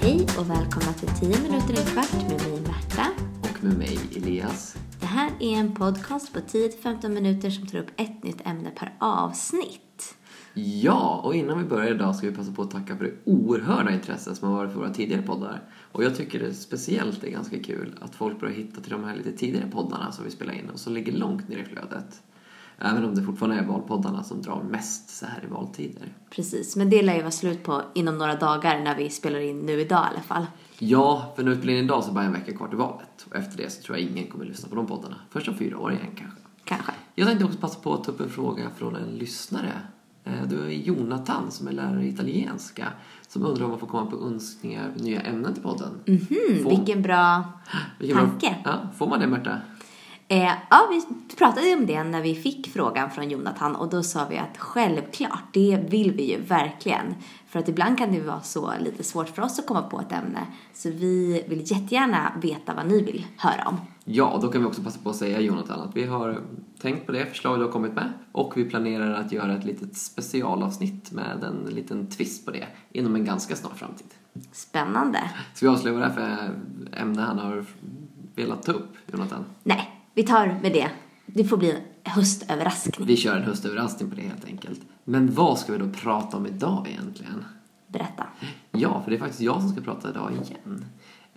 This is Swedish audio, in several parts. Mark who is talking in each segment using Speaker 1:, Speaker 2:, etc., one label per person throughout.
Speaker 1: Hej och välkomna till 10 minuter en kvart med mig Märta.
Speaker 2: Och med mig Elias.
Speaker 1: Det här är en podcast på 10-15 minuter som tar upp ett nytt ämne per avsnitt.
Speaker 2: Ja, och innan vi börjar idag ska vi passa på att tacka för det oerhörda intresse som har varit för våra tidigare poddar. Och jag tycker det speciellt är ganska kul att folk börjar hitta till de här lite tidigare poddarna som vi spelar in och som ligger långt ner i flödet. Även om det fortfarande är valpoddarna som drar mest så här i valtider.
Speaker 1: Precis, men det lär ju vara slut på inom några dagar när vi spelar in nu idag i alla fall.
Speaker 2: Ja, för när vi spelar in idag så är det bara en vecka kvar till valet. Och efter det så tror jag ingen kommer lyssna på de poddarna. Först om fyra år igen kanske.
Speaker 1: Kanske.
Speaker 2: Jag tänkte också passa på att ta upp en fråga från en lyssnare. Eh, Det är Jonathan som är lärare i italienska som undrar om man får komma på önskningar av nya ämnen till podden.
Speaker 1: Mm,
Speaker 2: Får-
Speaker 1: vilken bra
Speaker 2: vilken bra-
Speaker 1: tanke.
Speaker 2: Ja, får man det Märta?
Speaker 1: Eh, ja, vi pratade ju om det när vi fick frågan från Jonathan och då sa vi att självklart, det vill vi ju verkligen. För att ibland kan det ju vara så lite svårt för oss att komma på ett ämne. Så vi vill jättegärna veta vad ni vill höra om.
Speaker 2: Ja, då kan vi också passa på att säga Jonathan att vi har tänkt på det förslag du har kommit med och vi planerar att göra ett litet specialavsnitt med en liten twist på det inom en ganska snar framtid.
Speaker 1: Spännande.
Speaker 2: Ska vi avslöja vad det är för ämne han har velat ta upp, Jonathan?
Speaker 1: Nej, vi tar med det. Det får bli en höstöverraskning.
Speaker 2: Vi kör en höstöverraskning på det helt enkelt. Men vad ska vi då prata om idag egentligen?
Speaker 1: Berätta.
Speaker 2: Ja, för det är faktiskt jag som ska prata idag igen.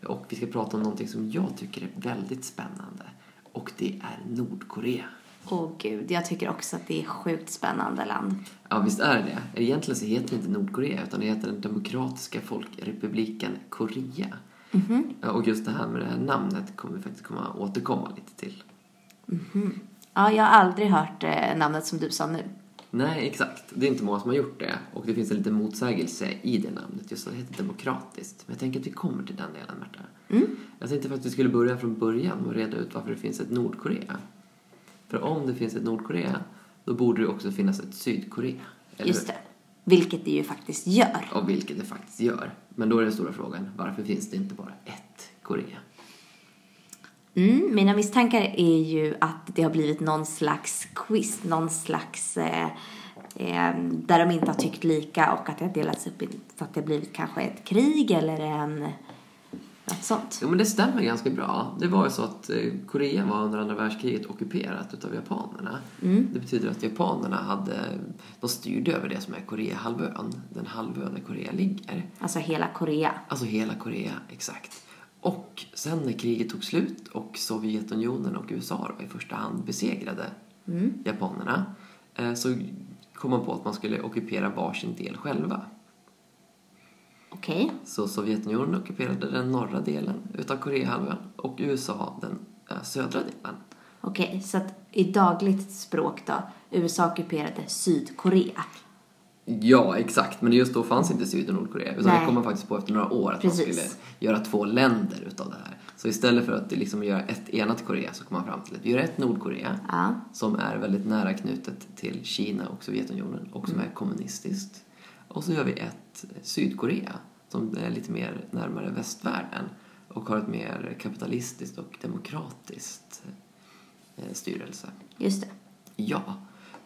Speaker 2: Och vi ska prata om någonting som jag tycker är väldigt spännande. Och det är Nordkorea.
Speaker 1: Åh gud, jag tycker också att det är sjukt spännande land.
Speaker 2: Ja, visst är det det Egentligen så heter det inte Nordkorea utan det heter den Demokratiska Folkrepubliken Korea. Ja, Och just det här med det här namnet kommer vi faktiskt komma återkomma lite till.
Speaker 1: Ja, jag har aldrig hört eh, namnet som du sa nu.
Speaker 2: Nej, exakt. Det är inte många som har gjort det. Och det finns en liten motsägelse i det namnet. Just att det heter demokratiskt. Men jag tänker att vi kommer till den delen, Märta. Jag tänkte faktiskt att vi skulle börja från början och reda ut varför det finns ett Nordkorea. För om det finns ett Nordkorea, då borde det också finnas ett Sydkorea. Eller
Speaker 1: Just
Speaker 2: hur?
Speaker 1: det. Vilket det ju faktiskt gör.
Speaker 2: Av vilket det faktiskt gör. Men då är den stora frågan, varför finns det inte bara ett Korea?
Speaker 1: Mm, mina misstankar är ju att det har blivit någon slags quiz, någon slags eh, eh, där de inte har tyckt lika och att det har delats upp i, så att det har blivit kanske ett krig eller en, något sånt.
Speaker 2: Jo, men det stämmer ganska bra. Det var ju så att eh, Korea var under andra världskriget ockuperat utav japanerna. Det betyder att japanerna hade, de styrde över det som är Koreahalvön, den halvön där Korea ligger.
Speaker 1: Alltså hela Korea.
Speaker 2: Alltså hela Korea, exakt. Och sen när kriget tog slut och Sovjetunionen och USA då, i första hand besegrade japanerna eh, så kom man på att man skulle ockupera varsin del själva.
Speaker 1: Okej.
Speaker 2: Så Sovjetunionen ockuperade den norra delen utav Koreahalvön och USA den eh, södra delen.
Speaker 1: Okej, så att i dagligt språk då, USA ockuperade Sydkorea.
Speaker 2: Ja, exakt. Men just då fanns inte Syd och Nordkorea. Utan
Speaker 1: Nej.
Speaker 2: det kom man faktiskt på efter några år att
Speaker 1: Precis.
Speaker 2: man skulle göra två länder utav det här. Så istället för att liksom göra ett enat Korea så kom man fram till att vi gör ett Nordkorea
Speaker 1: Ja.
Speaker 2: som är väldigt nära knutet till Kina och Sovjetunionen och som
Speaker 1: Mm.
Speaker 2: är kommunistiskt. Och så gör vi ett Sydkorea som är lite mer närmare västvärlden och har ett mer kapitalistiskt och demokratiskt eh, styrelse.
Speaker 1: Just det.
Speaker 2: Ja,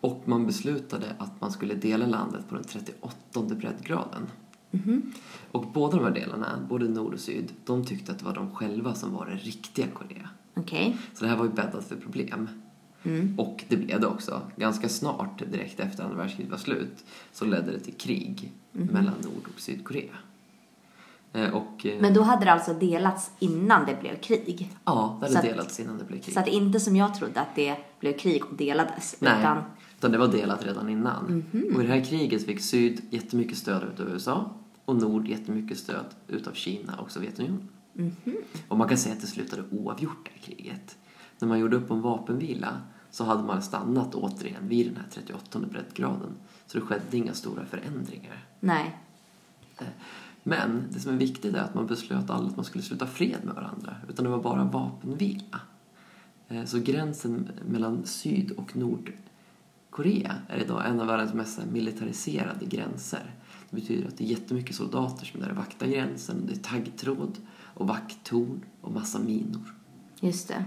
Speaker 2: och man beslutade att man skulle dela landet på den 38 breddgraden.
Speaker 1: Mhm.
Speaker 2: Och båda de här delarna, både nord och syd, de tyckte att det var de själva som var det riktiga Korea.
Speaker 1: Okej.
Speaker 2: Så det här var ju bäddat för problem.
Speaker 1: Mm.
Speaker 2: Och det blev det också. Ganska snart, direkt efter andra världskriget var slut, så ledde det till krig
Speaker 1: Mhm.
Speaker 2: mellan Nord och Sydkorea. Eh, Och, eh,
Speaker 1: Men då hade det alltså delats innan det blev krig.
Speaker 2: ja, det
Speaker 1: så
Speaker 2: hade
Speaker 1: att-
Speaker 2: delats innan det blev krig.
Speaker 1: Så att inte som jag trodde att det blev krig och delades.
Speaker 2: Nej,
Speaker 1: Utan,
Speaker 2: utan... det var delat redan innan. Och i det här kriget fick syd jättemycket stöd utav USA och nord jättemycket stöd utav Kina och Sovjetunionen. Och man kan säga att det slutade oavgjort det här kriget. När man gjorde upp om vapenvila så hade man stannat återigen vid den här 38 breddgraden. Så det skedde inga stora förändringar.
Speaker 1: nej.
Speaker 2: Men det som är viktigt är att man beslöt aldrig att man skulle sluta fred med varandra, utan det var bara vapenvila. Eh, Så gränsen mellan Syd och Nordkorea är idag en av världens mest så här militariserade gränser. Det betyder att det är jättemycket soldater som är där och vaktar gränsen. Det är taggtråd och vakttorn och massa minor.
Speaker 1: Just det.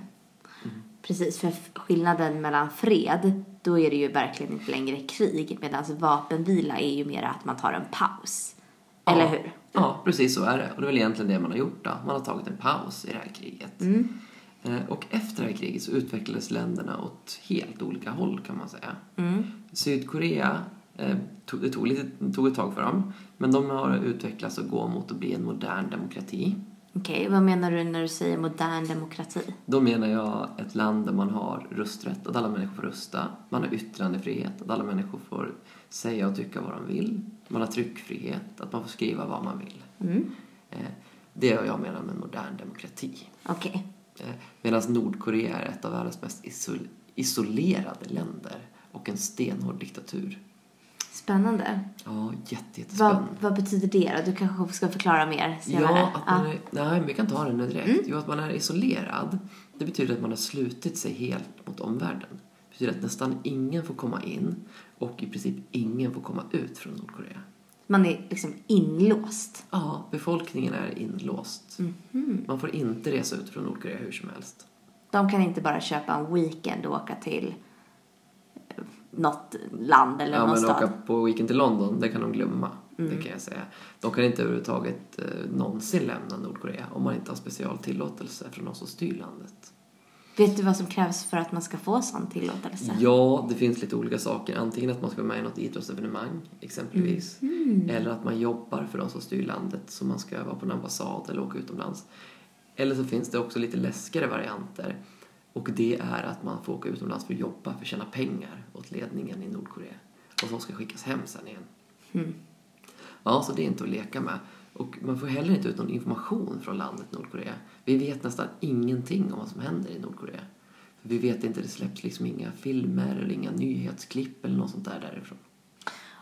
Speaker 2: Mm.
Speaker 1: Precis, för f- skillnaden mellan fred, då är det ju verkligen inte längre krig. Medan vapenvila är ju mer att man tar en paus Eller
Speaker 2: ja.
Speaker 1: hur?
Speaker 2: Ja, precis så är det. Och det är väl egentligen det man har gjort då. Man har tagit en paus i det här kriget.
Speaker 1: Mm.
Speaker 2: Eh, Och efter det här kriget så utvecklades länderna åt helt olika håll kan man säga.
Speaker 1: Mm.
Speaker 2: Sydkorea, eh, tog, det tog, lite, tog ett tag för dem, men de har utvecklats och går mot att bli en modern demokrati.
Speaker 1: Okej, vad menar du när du säger modern demokrati?
Speaker 2: Då menar jag ett land där man har rösträtt, att alla människor får rösta. Man har yttrandefrihet, att alla människor får säga och tycka vad de vill. Man har tryckfrihet, att man får skriva vad man vill. Eh, Det är vad jag menar med en modern demokrati. Eh,
Speaker 1: Okej.
Speaker 2: Medan Nordkorea är ett av världens mest isol- isolerade länder och en stenhård diktatur.
Speaker 1: Spännande.
Speaker 2: Ja, jätte,
Speaker 1: Vad,
Speaker 2: jättespännande.
Speaker 1: vad betyder det då? Du kanske ska förklara mer senare.
Speaker 2: Ja, att man är, nej, men vi kan ta den nu
Speaker 1: Mm.
Speaker 2: direkt. Jo, att man är isolerad, det betyder att man har slutit sig helt mot omvärlden. Det betyder att nästan ingen får komma in och i princip ingen får komma ut från Nordkorea.
Speaker 1: Man är liksom inlåst.
Speaker 2: Ja, befolkningen är inlåst.
Speaker 1: Mhm.
Speaker 2: Man får inte resa ut från Nordkorea hur som helst.
Speaker 1: De kan inte bara köpa en weekend och åka till eh, något land eller
Speaker 2: Ja,
Speaker 1: någon
Speaker 2: men
Speaker 1: stad. Mm.
Speaker 2: åka på weekend till London, det kan de glömma. Det kan jag säga. De kan inte överhuvudtaget eh, någonsin lämna Nordkorea om man inte har special tillåtelse från de som styr landet.
Speaker 1: Vet du vad som krävs för att man ska få sån tillåtelse?
Speaker 2: Ja, det finns lite olika saker. Antingen att man ska vara med i något idrottsevenemang, exempelvis. Eller att man jobbar för de som styr landet, så man ska vara på en ambassad eller åka utomlands. Eller så finns det också lite läskigare varianter. Och det är att man får åka utomlands för att jobba, för att tjäna pengar åt ledningen i Nordkorea. Och som ska skickas hem sen igen. Ja, så det är inte att leka med. Och man får heller inte ut någon information från landet Nordkorea. Vi vet nästan ingenting om vad som händer i Nordkorea. För vi vet inte, det släpps liksom inga filmer eller inga nyhetsklipp eller något sånt där därifrån.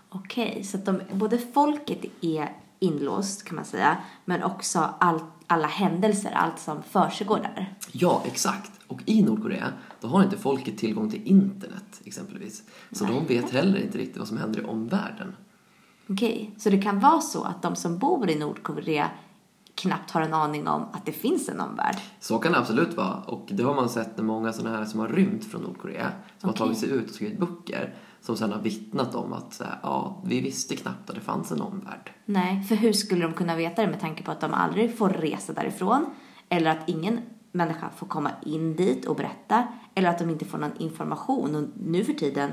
Speaker 1: Okej, så att de, både folket är inlåst kan man säga, men också allt, alla händelser, allt som försiggår där.
Speaker 2: Ja, exakt. Och i Nordkorea, då har inte folket tillgång till internet exempelvis. Så de vet heller inte riktigt vad som händer i omvärlden.
Speaker 1: Okej, så det kan vara så att de som bor i Nordkorea knappt har en aning om att det finns en omvärld.
Speaker 2: Så kan det absolut vara. Och det har man sett när många sådana här som har rymt från Nordkorea, som
Speaker 1: Okej.
Speaker 2: har tagit sig ut och skrivit böcker, som sen har vittnat om att så här, ja, vi visste knappt att det fanns en omvärld.
Speaker 1: Nej, för hur skulle de kunna veta det med tanke på att de aldrig får resa därifrån eller att ingen människa får komma in dit och berätta eller att de inte får någon information. Och nu för tiden,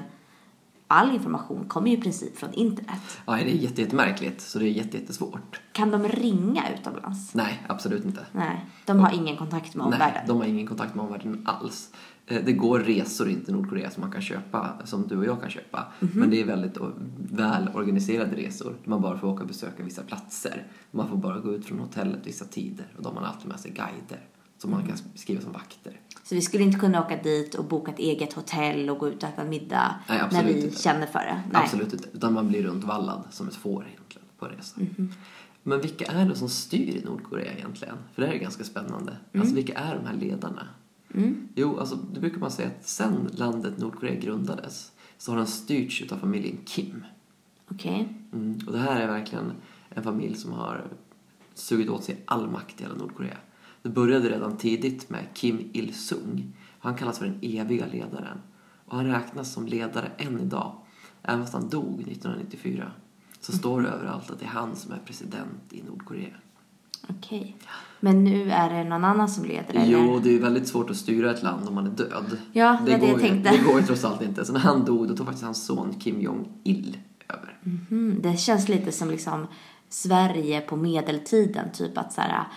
Speaker 1: all information kommer ju i princip från internet.
Speaker 2: Ja, det är jätte- jättemärkligt, så det är jätte- jättesvårt.
Speaker 1: Kan de ringa utomlands?
Speaker 2: Nej, absolut inte.
Speaker 1: Nej, de har ingen kontakt med
Speaker 2: Nej,
Speaker 1: omvärlden.
Speaker 2: de har ingen kontakt med omvärlden alls. Eh, Det går resor in till Nordkorea som man kan köpa, som du och jag kan köpa.
Speaker 1: Mhm.
Speaker 2: Men det är väldigt o- väl organiserade resor. där Man bara får åka och besöka vissa platser. Man får bara gå ut från hotellet vissa tider. Och då har man alltid med sig guider som
Speaker 1: Mm.
Speaker 2: man kan skriva som vakter.
Speaker 1: Så vi skulle inte kunna åka dit och boka ett eget hotell och gå ut och äta middag
Speaker 2: Nej,
Speaker 1: när
Speaker 2: absolut
Speaker 1: vi
Speaker 2: inte.
Speaker 1: känner för det. Nej.
Speaker 2: Absolut inte. Utan man blir runtvallad som ett får egentligen på resan. Men vilka är det som styr i Nordkorea egentligen? För det här är ganska spännande. Alltså vilka är de här ledarna? Jo, alltså det brukar man säga att sen landet Nordkorea grundades så har den styrts utav familjen Kim.
Speaker 1: Okej.
Speaker 2: Mm. Och det här är verkligen en familj som har sugit åt sig all makt i hela Nordkorea. Det började redan tidigt med Kim Il-Sung. Han kallas för den eviga ledaren. Och han räknas som ledare än idag. Även fast han dog 1994 så står det överallt att det är han som är president i Nordkorea.
Speaker 1: Okej. Men nu är det någon annan som leder, eller?
Speaker 2: Jo, det är ju väldigt svårt att styra ett land om man är död.
Speaker 1: Ja, det var det
Speaker 2: går
Speaker 1: jag
Speaker 2: ju,
Speaker 1: tänkte.
Speaker 2: Det går ju trots allt inte. Så när han dog, då tog faktiskt hans son Kim Jong-Il över.
Speaker 1: Mm, det känns lite som liksom Sverige på medeltiden, typ att så här,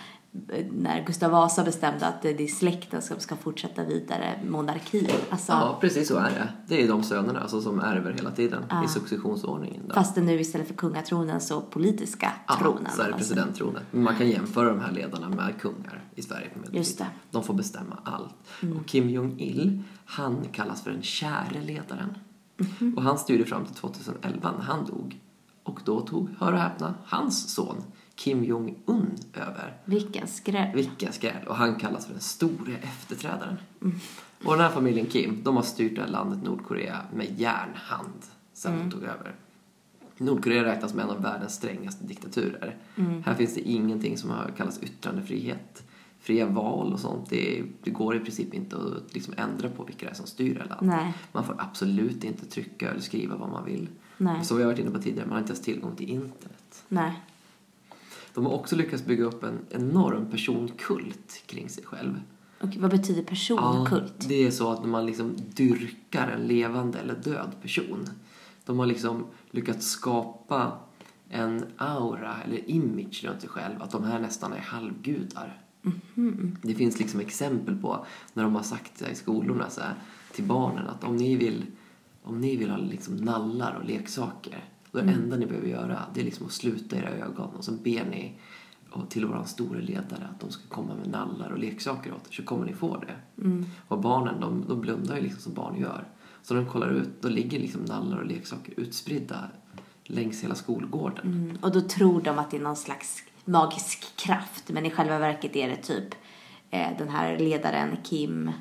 Speaker 1: eh, när Gustav Vasa bestämde att det det är släkten som ska fortsätta vidare monarkin. Alltså,
Speaker 2: Ja, precis så är det. Det är de sönerna alltså, som ärver hela tiden i successionsordningen. Då.
Speaker 1: Fast det nu istället för kungatronen så politiska
Speaker 2: Ja,
Speaker 1: tronen. Alltså,
Speaker 2: så är det presidenttronen. Men man kan jämföra de här ledarna med kungar i Sverige på medeltiden.
Speaker 1: Just det. Mm.
Speaker 2: De får bestämma allt. Och Kim Jong-Il, han kallas för den käre ledaren.
Speaker 1: Mhm.
Speaker 2: Och han styrde fram till 2011 när han dog. Och då tog, hör och häpna, hans son Kim Jong-Un över.
Speaker 1: Vilken skräll.
Speaker 2: Vilken skräll! Och han kallas för den store efterträdaren.
Speaker 1: Mm.
Speaker 2: Och den här familjen Kim, de har styrt det här landet Nordkorea med järnhand sen
Speaker 1: Mm.
Speaker 2: de tog över. Nordkorea räknas som en av världens strängaste diktaturer.
Speaker 1: Mm.
Speaker 2: Här finns det ingenting som har kallats yttrandefrihet. Fria val och sånt, det, det går i princip inte att liksom ändra på vilka det är som styr det här landet.
Speaker 1: Nej.
Speaker 2: Man får absolut inte trycka eller skriva vad man vill.
Speaker 1: Nej.
Speaker 2: Som vi har varit inne på tidigare, man har inte ens tillgång till internet.
Speaker 1: Nej.
Speaker 2: De har också lyckats bygga upp en enorm personkult kring sig själv.
Speaker 1: Och vad betyder personkult?
Speaker 2: Ja, det är så att när man liksom dyrkar en levande eller död person. De har liksom lyckats skapa en aura eller image runt sig själv att de här nästan är halvgudar. Det finns liksom exempel på när de har sagt så här i skolorna så här, till barnen att om ni vill, om ni vill ha liksom nallar och leksaker då är det enda ni behöver göra det är liksom att sluta era ögon och så ber ni och till våran store ledare att de ska komma med nallar och leksaker åt er så kommer ni få det. Och barnen de, de blundar ju liksom som barn gör. Så när de kollar ut då ligger liksom nallar och leksaker utspridda längs hela skolgården.
Speaker 1: Mm, och då tror de att det är någon slags magisk kraft men i själva verket är det typ eh, den här ledaren Kim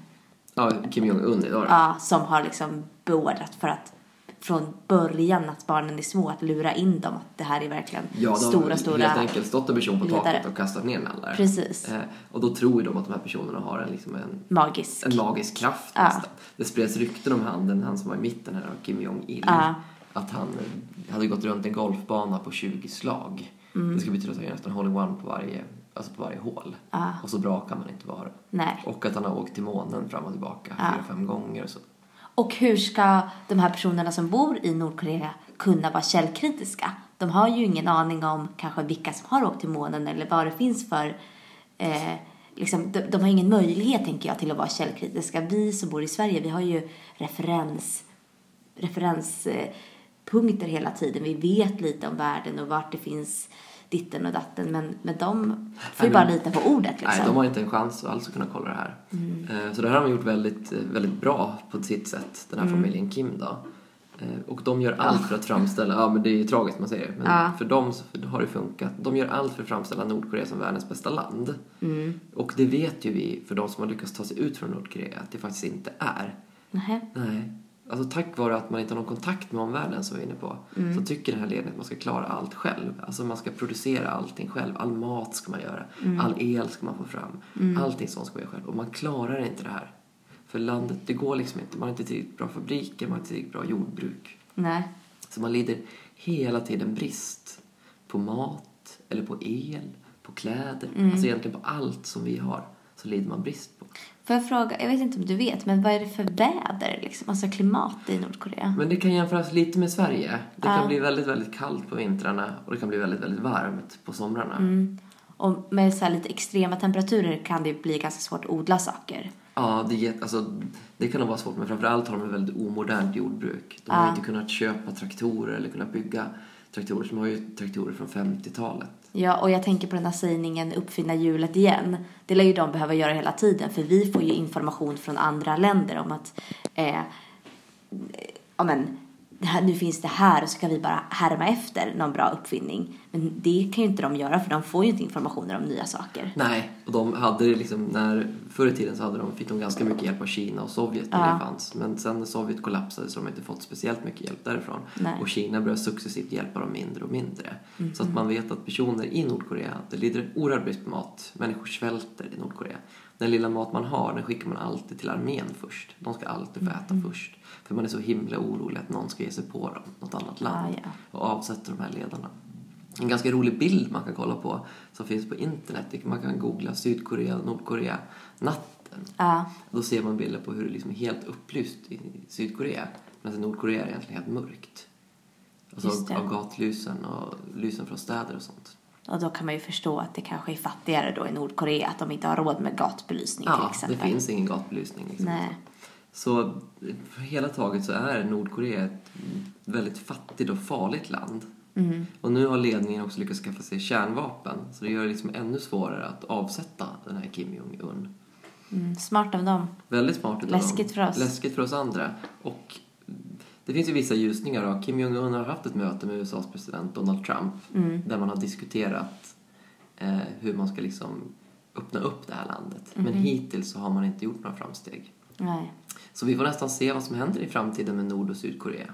Speaker 2: Ja, Kim Jong-Un idag då.
Speaker 1: ja, som har liksom beordrat för att från början att barnen är små att lura in dem att det här är verkligen
Speaker 2: Ja, de
Speaker 1: stora,
Speaker 2: har
Speaker 1: stora...
Speaker 2: helt enkelt stått en person på taket
Speaker 1: ledare.
Speaker 2: och kastat ner nallar.
Speaker 1: Precis.
Speaker 2: Eh, och då tror ju de att de här personerna har en, liksom en,
Speaker 1: Magisk.
Speaker 2: en magisk kraft
Speaker 1: Ja.
Speaker 2: nästan. Det spreds rykten om han, den, han som var i mitten här, Kim Jong-Il.
Speaker 1: Ja.
Speaker 2: Att han eh, hade gått runt en golfbana på 20 slag.
Speaker 1: Mm.
Speaker 2: Det skulle betyda att han gör nästan hole-in-one på varje, alltså på varje hål. Och så bra kan man inte vara.
Speaker 1: Nej.
Speaker 2: Och att han har åkt till månen fram och tillbaka fyra, fem gånger. och Så.
Speaker 1: Och hur ska de här personerna som bor i Nordkorea kunna vara källkritiska? De har ju ingen aning om kanske vilka som har åkt till månen eller vad det finns för... Eh, liksom, de, de har ingen möjlighet, tänker jag, till att vara källkritiska. Vi som bor i Sverige, vi har ju referens referenspunkter hela tiden. Vi vet lite om världen och vart det finns ditten och datten. Men, men de får ju
Speaker 2: Nej,
Speaker 1: bara
Speaker 2: men-
Speaker 1: lita på ordet liksom.
Speaker 2: Nej, de har inte en chans alls att kunna kolla det här. Eh, Så det här har de gjort väldigt, eh, väldigt bra på sitt sätt, den här familjen Kim då. Eh, Och de gör allt för att framställa, ja men det är ju tragiskt man säger, men
Speaker 1: Ja.
Speaker 2: för dem så har det funkat. De gör allt för att framställa Nordkorea som världens bästa land. Och det vet ju vi, för de som har lyckats ta sig ut från Nordkorea, att det faktiskt inte är.
Speaker 1: Nähä.
Speaker 2: Nej. Alltså tack vare att man inte har någon kontakt med omvärlden som vi är inne på så tycker den här ledningen att man ska klara allt själv. Alltså man ska producera allting själv. All mat ska man göra. All el ska man få fram. Allting sånt ska man göra själv. Och man klarar inte det här. För landet, det går liksom inte. Man har inte tillräckligt bra fabriker, man har inte tillräckligt bra jordbruk.
Speaker 1: Nej.
Speaker 2: Så man lider hela tiden brist på mat, eller på el, på kläder. Alltså egentligen på allt som vi har så lider man brist på.
Speaker 1: Får jag fråga, jag vet inte om du vet, men vad är det för väder liksom? Alltså klimat i Nordkorea?
Speaker 2: Men det kan jämföras lite med Sverige. Det kan
Speaker 1: Ja.
Speaker 2: bli väldigt, väldigt kallt på vintrarna och det kan bli väldigt, väldigt varmt på somrarna.
Speaker 1: Och med så här lite extrema temperaturer kan det bli ganska svårt att odla saker.
Speaker 2: Ja, det, är jätte- alltså, det kan nog vara svårt men framförallt har de ett väldigt omodernt jordbruk. De har ju inte kunnat köpa traktorer eller kunnat bygga traktorer. De har ju traktorer från 50-talet.
Speaker 1: Ja, och jag tänker på den här sägningen uppfinna hjulet igen. Det lär ju de behöva göra hela tiden för vi får ju information från andra länder om att eh, ja men, det här, nu finns det här och så kan vi bara härma efter någon bra uppfinning. Men det kan ju inte de göra för de får ju inte informationer om nya saker.
Speaker 2: Nej, och de hade det liksom när, förr i tiden så hade de, fick de ganska mycket hjälp av Kina och Sovjet när det fanns. Men sen när Sovjet kollapsade så har de inte fått speciellt mycket hjälp därifrån.
Speaker 1: Nej.
Speaker 2: Och Kina började successivt hjälpa dem mindre och mindre. Så att man vet att personer i Nordkorea, det lider en oerhörd brist på mat. Människor svälter i Nordkorea. Den lilla mat man har, den skickar man alltid till armén först. De ska alltid få äta först. För man är så himla orolig att någon ska ge sig på dem, något annat land.
Speaker 1: Ah, ja.
Speaker 2: Och avsätter de här ledarna. En ganska rolig bild man kan kolla på som finns på internet. det- Man kan googla Sydkorea, Nordkorea, natten.
Speaker 1: Ja.
Speaker 2: Då ser man bilder på hur det liksom är helt upplyst i Sydkorea. Medan i Nordkorea är det egentligen helt mörkt.
Speaker 1: Just
Speaker 2: Alltså
Speaker 1: det.
Speaker 2: av gatlysen och lysen från städer och sånt.
Speaker 1: Och då kan man ju förstå att det kanske är fattigare då i Nordkorea att de inte har råd med gatubelysning till
Speaker 2: Ja, det
Speaker 1: exempel.
Speaker 2: finns ingen gatubelysning. Liksom.
Speaker 1: Nej.
Speaker 2: Så för hela taget så är Nordkorea ett väldigt fattigt och farligt land.
Speaker 1: Mm.
Speaker 2: Och nu har ledningen också lyckats skaffa sig kärnvapen. Så det gör det liksom ännu svårare att avsätta den här Kim Jong-Un.
Speaker 1: Mm, smart av dem.
Speaker 2: Väldigt smart utav
Speaker 1: Läskigt
Speaker 2: dem.
Speaker 1: för oss.
Speaker 2: Läskigt för oss andra. Och det finns ju vissa ljusningar. Då. Kim Jong-Un har haft ett möte med USAs president Donald Trump
Speaker 1: Mm.
Speaker 2: där man har diskuterat eh, hur man ska liksom öppna upp det här landet.
Speaker 1: Mm-hmm.
Speaker 2: Men hittills så har man inte gjort några framsteg.
Speaker 1: Nej.
Speaker 2: Så vi får nästan se vad som händer i framtiden med Nord och Sydkorea.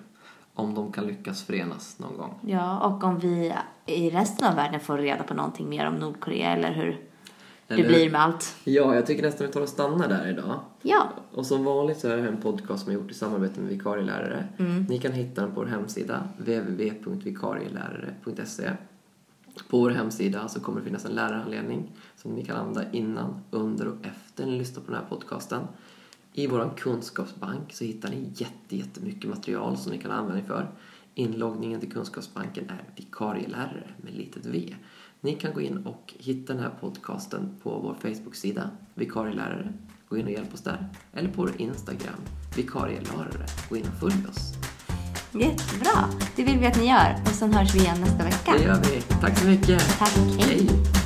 Speaker 2: Om de kan lyckas förenas någon gång.
Speaker 1: Ja, och om vi i resten av världen får reda på någonting mer om Nordkorea eller hur
Speaker 2: Eller-
Speaker 1: det blir med allt.
Speaker 2: Ja, jag tycker nästan vi tar och stannar där idag.
Speaker 1: Ja,
Speaker 2: Och som vanligt så är det här en podcast som är gjort i samarbete med vikarielärare. Ni kan hitta den på vår hemsida www.vikarielärare.se På vår hemsida så kommer det finnas en lärarhandledning som ni kan använda innan, under och efter ni lyssnar på den här podcasten. I vår kunskapsbank så hittar ni jätte, jättemycket material som ni kan använda er för. Inloggningen till kunskapsbanken är vikarielärare med litet v. Ni kan gå in och hitta den här podcasten på vår Facebook-sida, vikarielärare. Gå in och hjälp oss där. Eller på vår Instagram, vikarielärare. Gå in och följ oss.
Speaker 1: Jättebra! Det vill vi att ni gör. Och sen hörs vi igen nästa vecka.
Speaker 2: Det gör vi. Tack så mycket.
Speaker 1: Tack, hej.
Speaker 2: hej.